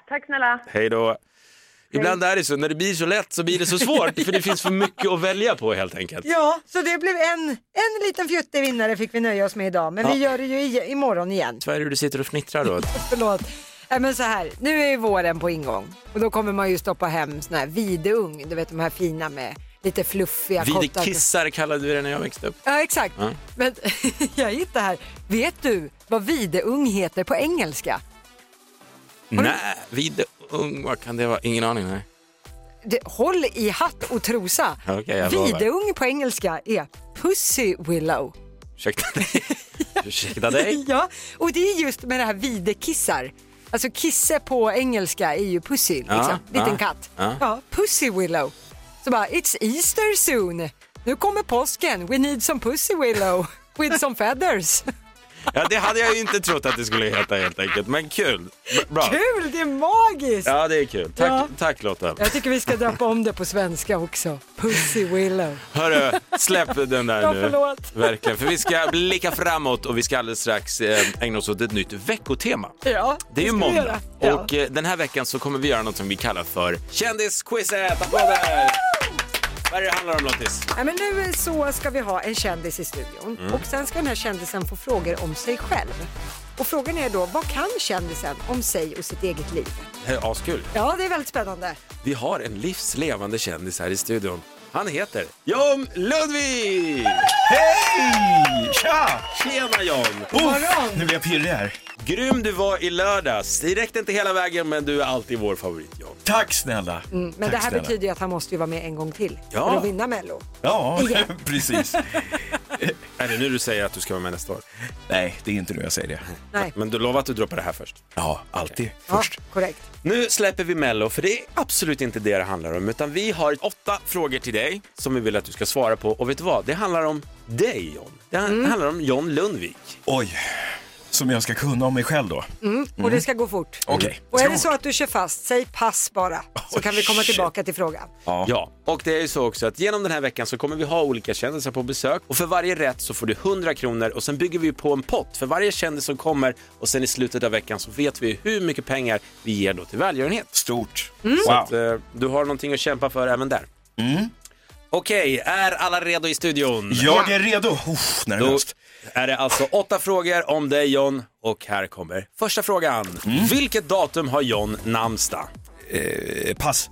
[SPEAKER 6] tack snälla.
[SPEAKER 1] Hej då. Ibland är det så, när det blir så lätt så blir det så svårt för det finns för mycket att välja på helt enkelt.
[SPEAKER 2] Ja, så det blev en, en liten fjuttig vinnare fick vi nöja oss med idag. Men vi gör det ju i, imorgon igen.
[SPEAKER 1] Vad är det du sitter och fnittrar då?
[SPEAKER 2] Förlåt. Nej, men så här, nu är ju våren på ingång och då kommer man ju stoppa hem sån här videung, du vet de här fina med lite fluffiga korta-
[SPEAKER 1] Videkissar kallade vi det när jag växte upp.
[SPEAKER 2] Ja, exakt.
[SPEAKER 1] Ja.
[SPEAKER 2] Men jag hittar här. Vet du vad videung heter på engelska?
[SPEAKER 1] Nej, videung, vad kan det vara? Ingen aning. Nej.
[SPEAKER 2] Det, håll i hatt och trosa.
[SPEAKER 1] Okej, jag lovar.
[SPEAKER 2] Videung på engelska är pussy willow.
[SPEAKER 1] Ursäkta dig. Ursäkta dig.
[SPEAKER 2] ja, och det är just med det här videkissar. Alltså kisse på engelska är ju pussy,
[SPEAKER 1] Ja,
[SPEAKER 2] liksom. liten
[SPEAKER 1] ja,
[SPEAKER 2] katt.
[SPEAKER 1] ja.
[SPEAKER 2] Ja, pussy willow. Så bara, it's Easter soon. Nu kommer påsken. We need some pussy willow with some feathers.
[SPEAKER 1] Ja, det hade jag ju inte trott att det skulle heta helt enkelt, men kul. B- Bra.
[SPEAKER 2] Kul, det är magiskt.
[SPEAKER 1] Ja, det är kul. Tack,
[SPEAKER 2] Ja.
[SPEAKER 1] tack Lotta.
[SPEAKER 2] Jag tycker vi ska döpa om det på svenska också. Pussy willow.
[SPEAKER 1] Hörru, släpp den där
[SPEAKER 2] Ja,
[SPEAKER 1] nu.
[SPEAKER 2] förlåt.
[SPEAKER 1] Verkligen, för vi ska blicka framåt och vi ska alldeles strax eh, ägna oss åt ett nytt veckotema.
[SPEAKER 2] Ja,
[SPEAKER 1] Det är ju
[SPEAKER 2] ska vi
[SPEAKER 1] måndag
[SPEAKER 2] göra. Ja.
[SPEAKER 1] och eh, den här veckan så kommer vi göra något som vi kallar för Kändisquizet! Applåder! Vad är det det handlar om Lottis?
[SPEAKER 2] Nej, men nu så ska vi ha en kändis i studion
[SPEAKER 1] Mm.
[SPEAKER 2] och sen ska den här kändisen få frågor om sig själv. Och frågan är då, vad kan kändisen om sig och sitt eget liv?
[SPEAKER 1] Det är Askul.
[SPEAKER 2] Ja, det är väldigt spännande.
[SPEAKER 1] Vi har en livslevande kändis här i studion. Han heter John Ludvig! Hej! Tja! Tjena John!
[SPEAKER 12] Uff, nu blir jag pirrig här.
[SPEAKER 1] Grym du var i lördags. Det räckte inte hela vägen men du är alltid vår favorit John.
[SPEAKER 12] Tack snälla.
[SPEAKER 2] Mm, men
[SPEAKER 12] Tack
[SPEAKER 2] det här
[SPEAKER 12] snälla.
[SPEAKER 2] betyder ju att han måste ju vara med en gång till
[SPEAKER 1] Ja.
[SPEAKER 2] för att vinna Mello.
[SPEAKER 12] Ja,
[SPEAKER 2] Igen.
[SPEAKER 12] precis.
[SPEAKER 1] Är det nu du säger att du ska vara med nästa år?
[SPEAKER 12] Nej, det är inte nu jag säger det.
[SPEAKER 2] Nej.
[SPEAKER 1] Men du lovar att du droppar det här först?
[SPEAKER 12] Ja, alltid.
[SPEAKER 2] Först. Ja, korrekt.
[SPEAKER 1] Nu släpper vi Mello, för det är absolut inte det det handlar om, utan vi har åtta frågor till dig som vi vill att du ska svara på. Och vet du vad? Det handlar om dig, John. Det han- handlar om John Lundvik.
[SPEAKER 12] Oj, som jag ska kunna om mig själv då.
[SPEAKER 2] Mm, och
[SPEAKER 12] Mm.
[SPEAKER 2] det ska gå fort.
[SPEAKER 12] Okej.
[SPEAKER 2] Och är det så att du kör fast, säg pass bara så kan vi komma tillbaka till frågan.
[SPEAKER 1] Ja. och det är ju så också att genom den här veckan så kommer vi ha olika kändisar på besök och för varje rätt så får du 100 kronor och sen bygger vi på en pott för varje kändis som kommer och sen i slutet av veckan så vet vi hur mycket pengar vi ger då till välgörenhet.
[SPEAKER 12] Stort.
[SPEAKER 1] Så att, eh, du har någonting att kämpa för även där. Okej, är alla redo i studion?
[SPEAKER 12] Jag är redo. Uff, nervöst.
[SPEAKER 1] Då är det alltså åtta frågor om dig John och här kommer första frågan. Vilket datum har John namnsdag?
[SPEAKER 12] Eh, pass.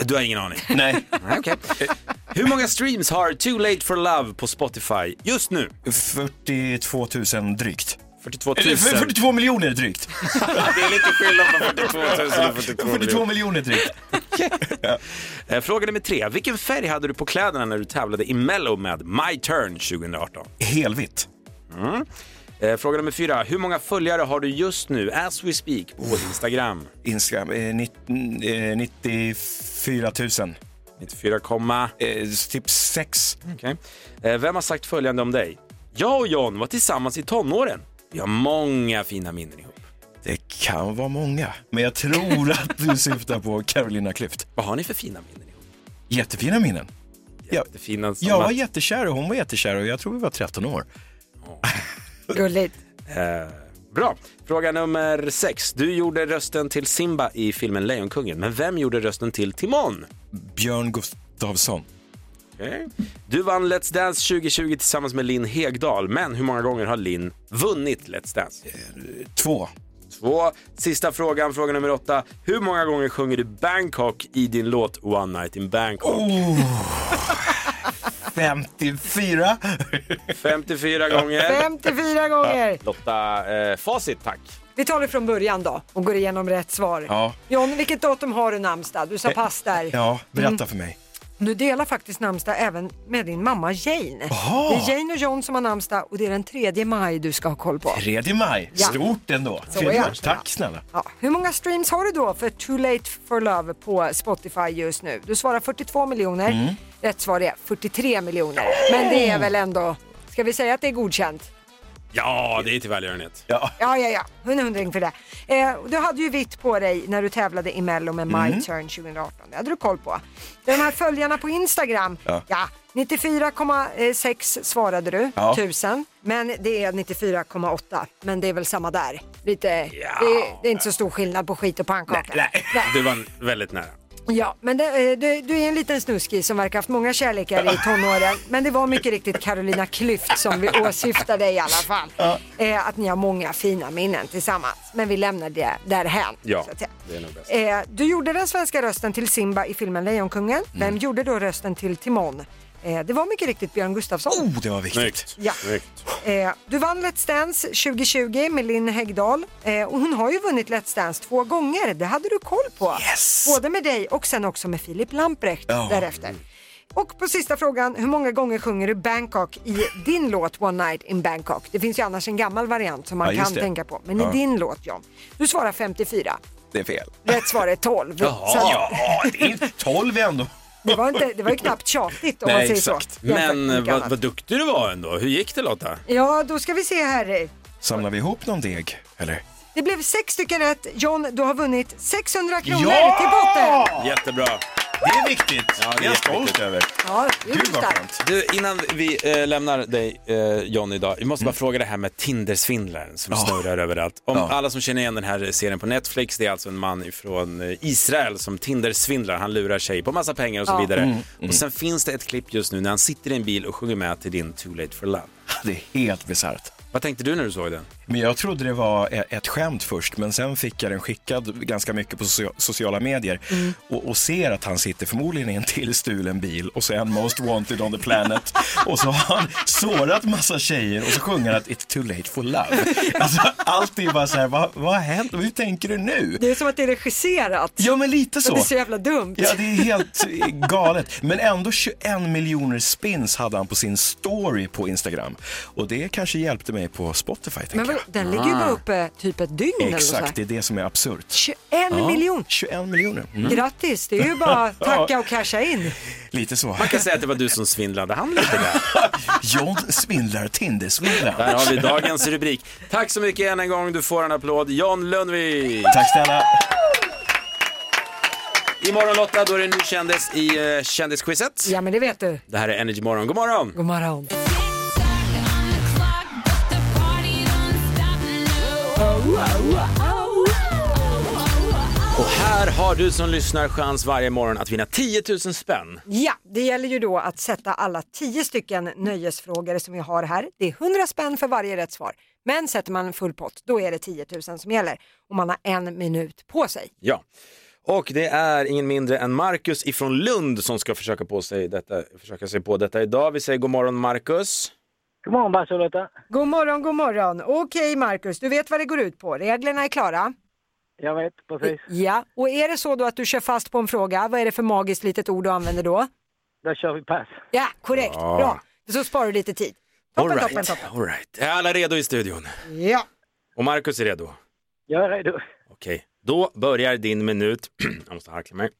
[SPEAKER 1] Du har ingen aning?
[SPEAKER 12] Nej.
[SPEAKER 1] Okej. Hur många streams har Too Late For Love på Spotify just nu?
[SPEAKER 12] 42 000 drygt.
[SPEAKER 1] 42 000.
[SPEAKER 12] Eller, för- 42 miljoner drygt.
[SPEAKER 1] det är lite skillnad på 42 000 och 42,
[SPEAKER 12] 42 miljoner drygt.
[SPEAKER 1] Eh, Fråga nummer tre. Vilken färg hade du på kläderna när du tävlade i Mello med My Turn 2018?
[SPEAKER 12] Helvitt.
[SPEAKER 1] Mm. Eh, Fråga nummer fyra. Hur många följare har du just nu, as we speak, på Instagram?
[SPEAKER 12] Instagram, eh, nitt- eh, 94 000.
[SPEAKER 1] 94, komma...
[SPEAKER 12] Eh, typ 6.
[SPEAKER 1] Okej. Eh, Vem har sagt följande om dig? Jag och John var tillsammans i tonåren. Vi har många fina minnen ihop.
[SPEAKER 12] Det kan vara många, men jag tror att du syftar på Carolina Klüft.
[SPEAKER 1] Vad har ni för fina minnen
[SPEAKER 12] ihop? Jättefina minnen.
[SPEAKER 1] Jättefina som
[SPEAKER 12] Jag
[SPEAKER 1] att-
[SPEAKER 12] var jättekär och hon var jättekär och jag tror vi var 13 år.
[SPEAKER 2] Gulligt.
[SPEAKER 1] Eh, bra. Fråga nummer sex. Du gjorde rösten till Simba i filmen Lejonkungen, men vem gjorde rösten till Timon?
[SPEAKER 12] Björn Gustafsson.
[SPEAKER 1] Okej. Du vann Let's Dance 2020 tillsammans med Linn Hegdahl, men hur många gånger har Linn vunnit Let's Dance?
[SPEAKER 12] Två.
[SPEAKER 1] Två. Sista frågan, fråga nummer åtta. Hur många gånger sjunger du Bangkok i din låt One Night in Bangkok?
[SPEAKER 12] Oh. 54.
[SPEAKER 1] 54 gånger.
[SPEAKER 2] 54 gånger.
[SPEAKER 1] Lotta, eh, facit tack.
[SPEAKER 2] Vi tar det från början då och går igenom rätt svar.
[SPEAKER 12] Ja.
[SPEAKER 2] John, vilket datum har du namnsdag? Du sa
[SPEAKER 12] Eh,
[SPEAKER 2] pass där.
[SPEAKER 12] Ja, berätta
[SPEAKER 2] Mm.
[SPEAKER 12] för mig.
[SPEAKER 2] Du delar faktiskt namnsdag även med din mamma Jane.
[SPEAKER 12] Jaha.
[SPEAKER 2] Det är Jane och John som har namnsdag och det är den 3 maj du ska ha koll på.
[SPEAKER 12] 3 maj.
[SPEAKER 2] Ja.
[SPEAKER 12] Stort ändå.
[SPEAKER 2] Så
[SPEAKER 12] 3
[SPEAKER 2] är
[SPEAKER 12] maj.
[SPEAKER 2] det.
[SPEAKER 12] Tack snälla.
[SPEAKER 2] Ja. Hur många streams har du då för Too Late For Love på Spotify just nu? Du svarar 42 miljoner.
[SPEAKER 12] Mm.
[SPEAKER 2] Rätt svar är 43 miljoner. Men det är väl ändå, ska vi säga att det är godkänt?
[SPEAKER 1] Ja, det är till välgörenhet.
[SPEAKER 12] Ja.
[SPEAKER 2] Ja, ja, ja. Hon undring för det. Eh, du hade ju vitt på dig när du tävlade i Mello med My
[SPEAKER 12] Mm.
[SPEAKER 2] Turn 2018. Det hade du koll på. De här följarna på Instagram, ja,
[SPEAKER 12] Ja.
[SPEAKER 2] 94,6 svarade du,
[SPEAKER 12] Ja.
[SPEAKER 2] 1000. Men det är 94,8. Men det är väl samma där. Lite, det, det är inte så stor skillnad på skit och pannkaka.
[SPEAKER 1] Du vann väldigt nära.
[SPEAKER 2] Ja, men det, eh, du, du är en liten snuskig som verkar haft många kärlekar i tonåren. Men det var mycket riktigt Carolina Klüft som vi åsyftade i alla fall. Eh, att ni har många fina minnen tillsammans. Men vi lämnar det därhän.
[SPEAKER 1] Ja,
[SPEAKER 2] så att säga.
[SPEAKER 1] det är nog bäst.
[SPEAKER 2] Eh, du gjorde den svenska rösten till Simba i filmen Lejonkungen. Vem gjorde då rösten till Timon? Eh, det var mycket riktigt Björn Gustafsson.
[SPEAKER 12] Oh, det var viktigt.
[SPEAKER 2] Ja. Eh, du vann Let's Dance 2020 med Linn Häggdahl eh, och hon har ju vunnit Let's Dance två gånger. Det hade du koll på. Både med dig och sen också med Filip Lamprecht
[SPEAKER 13] Ja.
[SPEAKER 2] därefter. Och på sista frågan, hur många gånger sjunger du Bangkok i din låt One Night in Bangkok? Det finns ju annars en gammal variant som man
[SPEAKER 12] Ja, just
[SPEAKER 2] kan
[SPEAKER 12] det.
[SPEAKER 2] tänka på. Men
[SPEAKER 12] Ja.
[SPEAKER 2] i din låt John, du svarar 54.
[SPEAKER 12] Det är fel.
[SPEAKER 2] Rätt svar är 12.
[SPEAKER 12] Jaha,
[SPEAKER 2] Så att-
[SPEAKER 12] ja, det är 12 ändå.
[SPEAKER 2] det, var inte, det var ju knappt tjatigt om man
[SPEAKER 1] Nej,
[SPEAKER 2] säger
[SPEAKER 1] exakt.
[SPEAKER 2] så. jämfört med
[SPEAKER 1] Men
[SPEAKER 2] mycket
[SPEAKER 1] vad,
[SPEAKER 2] annat.
[SPEAKER 1] vad duktig du var ändå. Hur gick det Lotta?
[SPEAKER 2] Ja, då ska vi se här. eh,
[SPEAKER 12] Samlar vi ihop någon deg, eller?
[SPEAKER 2] Det blev sex stycken rätt. John, du har vunnit 600 kronor
[SPEAKER 12] Ja!
[SPEAKER 2] till botten.
[SPEAKER 1] Jättebra.
[SPEAKER 12] Det är viktigt. det är jag stolt över.
[SPEAKER 2] Ja, det är starkt.
[SPEAKER 1] Du, innan vi eh, lämnar dig eh, John idag, vi måste bara fråga det här med Tindersvindlaren som
[SPEAKER 12] Ja.
[SPEAKER 1] snurrar överallt. Om
[SPEAKER 12] Ja.
[SPEAKER 1] alla som känner igen den här serien på Netflix, det är alltså en man från eh, Israel som Tindersvindlar, han lurar sig på massa pengar och så
[SPEAKER 12] Ja.
[SPEAKER 1] vidare.
[SPEAKER 12] Mm, mm.
[SPEAKER 1] Och sen finns det ett klipp just nu när han sitter i en bil och sjunger med till din Too Late for Love.
[SPEAKER 12] Det är helt bisarrt.
[SPEAKER 1] Vad tänkte du när du såg den?
[SPEAKER 12] Men jag trodde det var e- ett skämt först, men sen fick jag den skickad ganska mycket på socia- sociala medier
[SPEAKER 2] Mm.
[SPEAKER 12] och, och ser att han sitter förmodligen i en till stulen bil och så är han most wanted on the planet och så har han sårat massa tjejer och så sjunger han att it's too late for love. Alltså, allt är bara så här, vad, vad har hänt? Hur tänker du nu?
[SPEAKER 2] Det är som att det är regisserat.
[SPEAKER 12] Ja, men lite så.
[SPEAKER 2] Det är så jävla dumt.
[SPEAKER 12] Ja, det är helt eh, galet. Men ändå 21 miljoner spins hade han på sin story på Instagram. Och det kanske hjälpte mig på Spotify. tänker
[SPEAKER 2] Men vad,
[SPEAKER 12] jag.
[SPEAKER 2] den ligger ju bara uppe typ ett dygn eller så.
[SPEAKER 12] Ah. Exakt,
[SPEAKER 2] här.
[SPEAKER 12] det är det som är absurt.
[SPEAKER 2] 21
[SPEAKER 12] Ja,
[SPEAKER 2] miljon.
[SPEAKER 12] 21 miljoner. Mm.
[SPEAKER 2] Grattis, det är ju bara att tacka och casha in.
[SPEAKER 12] Lite så.
[SPEAKER 1] Man kan säga att det var du som svindlade han lite där.
[SPEAKER 12] John svindlar Tindersvindlaren.
[SPEAKER 1] Där har vi dagens rubrik. Tack så mycket än en gång. Du får en applåd. John Lundvik.
[SPEAKER 12] Tack snälla.
[SPEAKER 1] Imorgon Lotta, då är det en ny kändis i eh, kändisquizet.
[SPEAKER 2] Ja, men det vet du.
[SPEAKER 1] Det här är Energy Morgon. God morgon!
[SPEAKER 2] God morgon.
[SPEAKER 1] Och här har du som lyssnar chans varje morgon att vinna 10 000 spänn.
[SPEAKER 2] Ja, det gäller ju då att sätta alla tio stycken nöjesfrågor som vi har här. Det är 100 spänn för varje rätt svar. Men sätter man full pott, då är det 10 000 som gäller. Och man har en minut på sig.
[SPEAKER 1] Ja. Och det är ingen mindre än Marcus ifrån Lund som ska försöka, på sig detta, försöka sig på detta idag. Vi säger god morgon Marcus.
[SPEAKER 14] God morgon Basse och Lotta.
[SPEAKER 2] God morgon, god morgon. Okej Marcus, du vet vad det går ut på. Reglerna är klara.
[SPEAKER 14] Jag vet precis.
[SPEAKER 2] Ja, och är det så då att du kör fast på en fråga, vad är det för magiskt litet ord du använder då?
[SPEAKER 14] Då kör vi pass.
[SPEAKER 2] Ja, korrekt.
[SPEAKER 1] Ja.
[SPEAKER 2] Bra. Så sparar du lite tid. Toppen, toppen, toppen.
[SPEAKER 1] All right. Är alla redo i studion?
[SPEAKER 2] Ja,
[SPEAKER 1] Och Marcus är redo?
[SPEAKER 14] Jag är redo.
[SPEAKER 1] Okej, då börjar din minut. Jag måste harkla mig.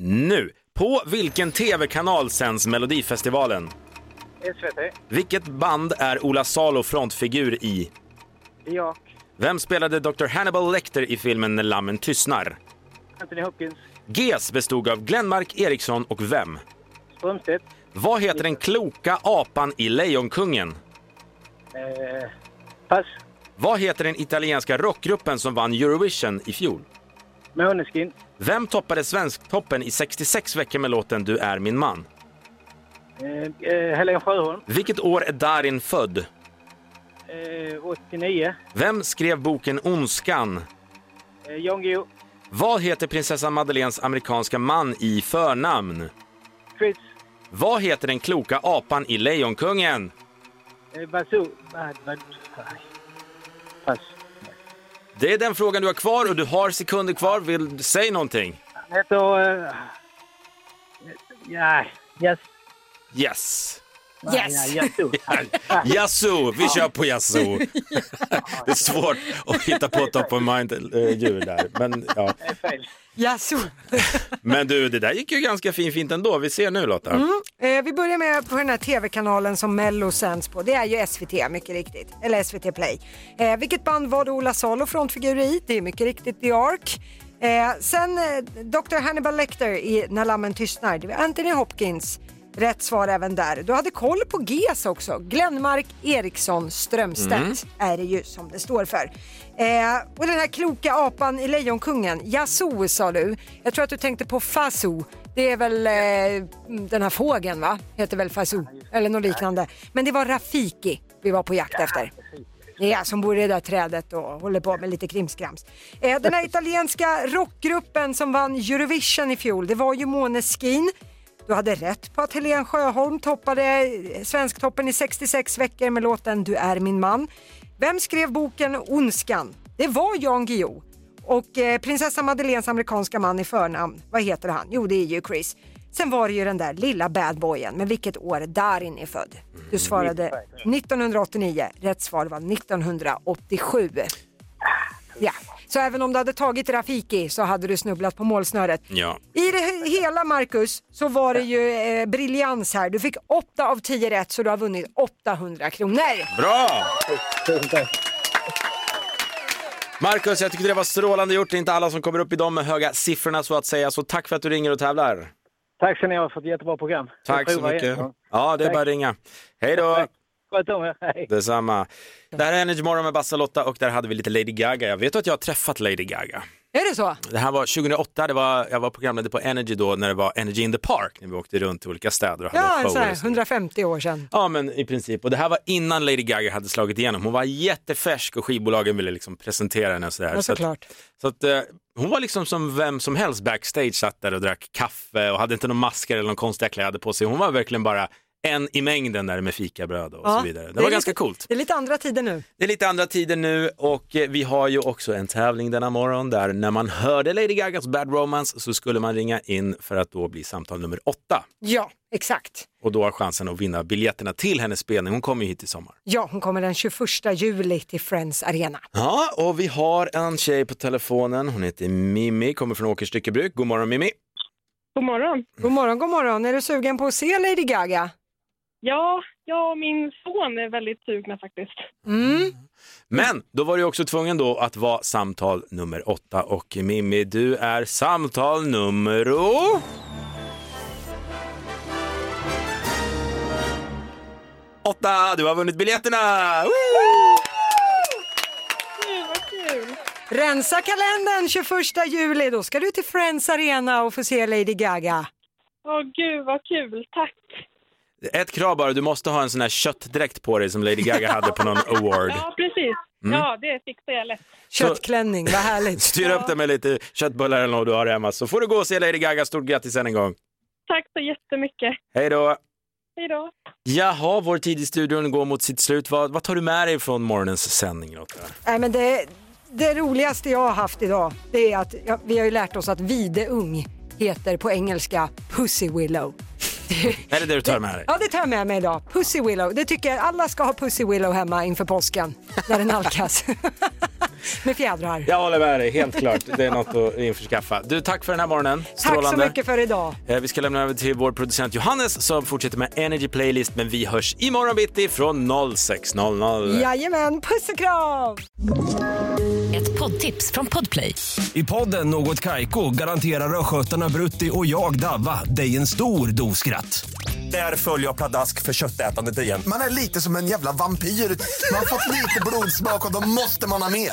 [SPEAKER 1] nu! På vilken tv-kanal sänds Melodifestivalen?
[SPEAKER 14] SVT.
[SPEAKER 1] Vilket band är Ola Salo frontfigur i?
[SPEAKER 14] Jag.
[SPEAKER 1] Vem spelade Dr. Hannibal Lecter i filmen När lammen tystnar?
[SPEAKER 14] Anthony Hopkins.
[SPEAKER 1] GES bestod av Glenmark Eriksson och vem?
[SPEAKER 14] Strömstedt.
[SPEAKER 1] Vad heter den kloka apan i Lejonkungen?
[SPEAKER 14] Eh, pass.
[SPEAKER 1] Vad heter den italienska rockgruppen som vann Eurovision i fjol?
[SPEAKER 14] Måneskin.
[SPEAKER 1] Vem toppade Svensktoppen i 66 veckor med låten Du är min man?
[SPEAKER 14] Eh, eh, Helen Sjöholm.
[SPEAKER 1] Vilket år är Darin född?
[SPEAKER 14] Eh, 89.
[SPEAKER 1] Vem skrev boken Ondskan?
[SPEAKER 14] Eh, Jan Guillou.
[SPEAKER 1] Vad heter prinsessan Madeleines amerikanska man i förnamn?
[SPEAKER 14] Fritz.
[SPEAKER 1] Vad heter den kloka apan i Lejonkungen?
[SPEAKER 14] Eh, Basu. Ah, vad- aj. Pass.
[SPEAKER 1] Det är den frågan du har kvar och du har sekunder kvar. Vill säg någonting?
[SPEAKER 14] Han heter... Eh, ja, yes.
[SPEAKER 1] Yes.
[SPEAKER 14] Yes. Ja, Yasu.
[SPEAKER 1] Yasu, vi kör på Yasu. Det är svårt att hitta på top of mind-djur där. Men, ja.
[SPEAKER 2] jaså.
[SPEAKER 1] Men du, det där gick ju ganska fin, fint ändå. Vi ser nu Lotta.
[SPEAKER 2] Mm. Eh, vi börjar med på den här tv-kanalen som Mello sänds på. Det är ju SVT, mycket riktigt. Eller SVT Play. Eh, vilket band var det Ola Salo frontfigur i? Det är mycket riktigt The Ark. Eh, sen eh, Dr. Hannibal Lecter i När lammen tystnar. Det var Anthony Hopkins. Rätt svar även där. Du hade koll på GES också. Glenmark Eriksson Strömstedt
[SPEAKER 13] Mm.
[SPEAKER 2] är det ju som det står för. Eh, och den här kloka apan i Lejonkungen, Yazoo sa du. Jag tror att du tänkte på Fazoo. Det är väl eh, den här fågeln va? Heter väl Fazoo eller något liknande. Men det var Rafiki vi var på jakt efter. Ja, som bor i det där trädet och håller på med lite krimskrams. Eh, den här italienska rockgruppen som vann Eurovision i fjol, det var ju Måneskin. Du hade rätt på att Helen Sjöholm toppade eh, Svensktoppen i 66 veckor med låten Du är min man. Vem skrev boken Ondskan? Det var Jan Guillou. Och eh, prinsessa Madeleines amerikanska man i förnamn, vad heter han? Jo, det är ju Chris. Sen var det ju den där lilla badboyen, men vilket år Darin är född? Du svarade 1989, rätt svar var 1987. Ja, så även om du hade tagit Rafiki så hade du snubblat på målsnöret.
[SPEAKER 1] Ja.
[SPEAKER 2] I det he- hela Marcus så var det ju eh, briljans här. Du fick 8 av 10 rätt så du har vunnit 800 kronor.
[SPEAKER 1] Bra! Marcus, jag tycker det var strålande gjort. Det är inte alla som kommer upp i de höga siffrorna så att säga. Så tack för att du ringer och tävlar.
[SPEAKER 14] Tack ska ni ha för ett jättebra program.
[SPEAKER 1] Tack
[SPEAKER 14] Jag
[SPEAKER 1] så
[SPEAKER 14] provar igen.
[SPEAKER 1] mycket. Ja, det är
[SPEAKER 14] Tack.
[SPEAKER 1] bara att ringa. Hej då!
[SPEAKER 14] Sköt om er. Hej.
[SPEAKER 1] Detsamma. Det här är Energy Morgon med Bassa och Lotta och där hade vi lite Lady Gaga. Jag vet att jag har träffat Lady Gaga.
[SPEAKER 2] Är det så?
[SPEAKER 1] Det här var 2008, det var, jag var programledare på Energy då när det var Energy in the Park, när vi åkte runt till olika städer och hade
[SPEAKER 2] Ja,
[SPEAKER 1] shower.
[SPEAKER 2] så här, 150 år sedan.
[SPEAKER 1] Ja, men i princip. Och det här var innan Lady Gaga hade slagit igenom. Hon var jättefärsk och skivbolagen ville liksom presentera henne och sådär.
[SPEAKER 2] Ja,
[SPEAKER 1] så att,
[SPEAKER 2] såklart.
[SPEAKER 1] så att, eh, hon var liksom som vem som helst backstage, satt där och drack kaffe och hade inte någon masker eller någon konstiga kläder på sig. Hon var verkligen bara en i mängden där med fikabröd och
[SPEAKER 2] Ja,
[SPEAKER 1] så vidare. Det,
[SPEAKER 2] är
[SPEAKER 1] var
[SPEAKER 2] lite-
[SPEAKER 1] ganska coolt.
[SPEAKER 2] Det är lite andra tider nu.
[SPEAKER 1] Det är lite andra tider nu och eh, vi har ju också en tävling denna morgon där när man hörde Lady Gagas Bad Romance så skulle man ringa in för att då bli samtal nummer åtta.
[SPEAKER 2] Ja, exakt.
[SPEAKER 1] Och då har chansen att vinna biljetterna till hennes spelning. Hon kommer ju hit i sommar.
[SPEAKER 2] Ja, hon kommer den 21 juli till Friends Arena.
[SPEAKER 1] Ja, och vi har en tjej på telefonen. Hon heter Mimmi, kommer från Åkers styckebruk. God morgon Mimmi!
[SPEAKER 2] God morgon. God morgon, god morgon. Är du sugen på att se Lady Gaga?
[SPEAKER 15] Ja, jag och min son är väldigt sugna faktiskt.
[SPEAKER 2] Mm.
[SPEAKER 1] Men då var du också tvungen då att vara samtal nummer åtta och Mimmi, du är samtal nummer... Åtta! Du har vunnit biljetterna! Woo!
[SPEAKER 15] Vad kul!
[SPEAKER 2] Rensa kalendern 21 juli, då ska du till Friends Arena och få se Lady Gaga.
[SPEAKER 15] Åh gud vad kul, tack!
[SPEAKER 1] Ett krav bara, du måste ha en sån här köttdräkt på dig som Lady Gaga hade på någon award.
[SPEAKER 15] Ja, precis.
[SPEAKER 1] Mm.
[SPEAKER 15] Ja, det fixar jag lätt.
[SPEAKER 2] Köttklänning, vad härligt.
[SPEAKER 1] Styr upp det med lite köttbullar eller något du har hemma så får du gå och se Lady Gaga. Stort grattis än en gång.
[SPEAKER 15] Tack så jättemycket.
[SPEAKER 1] Hej då!
[SPEAKER 15] Hej då!
[SPEAKER 1] Jaha, vår tid i studion går mot sitt slut. Vad, vad tar du med dig från morgonens sändning Lotta?
[SPEAKER 2] Nej, men det, det roligaste jag har haft idag, det är att ja, vi har ju lärt oss att videung heter på engelska Pussy Willow.
[SPEAKER 1] Är det det du tar med dig?
[SPEAKER 2] Ja, det tar jag med mig idag. Pussy Willow. Det tycker jag alla ska ha Pussy Willow hemma inför påsken när den nalkas. med fjädrar.
[SPEAKER 1] Jag håller med dig, helt klart. Det är något att införskaffa. Du, tack för den här morgonen.
[SPEAKER 2] Tack
[SPEAKER 1] Strålande.
[SPEAKER 2] så mycket för idag.
[SPEAKER 1] Eh, Vi ska lämna över till vår producent Johannes som fortsätter med Energy Playlist. Men vi hörs imorgon bitti från 06.00.
[SPEAKER 2] Jajamän, puss och kram!
[SPEAKER 11] Ett poddtips från Podplay.
[SPEAKER 16] I podden Något Kaiko garanterar östgötarna Brutti och jag, Davva, dig en stor dos skratt. Där följer jag pladask för köttätandet igen.
[SPEAKER 10] Man är lite som en jävla vampyr. Man har fått lite blodsmak och då måste man ha mer.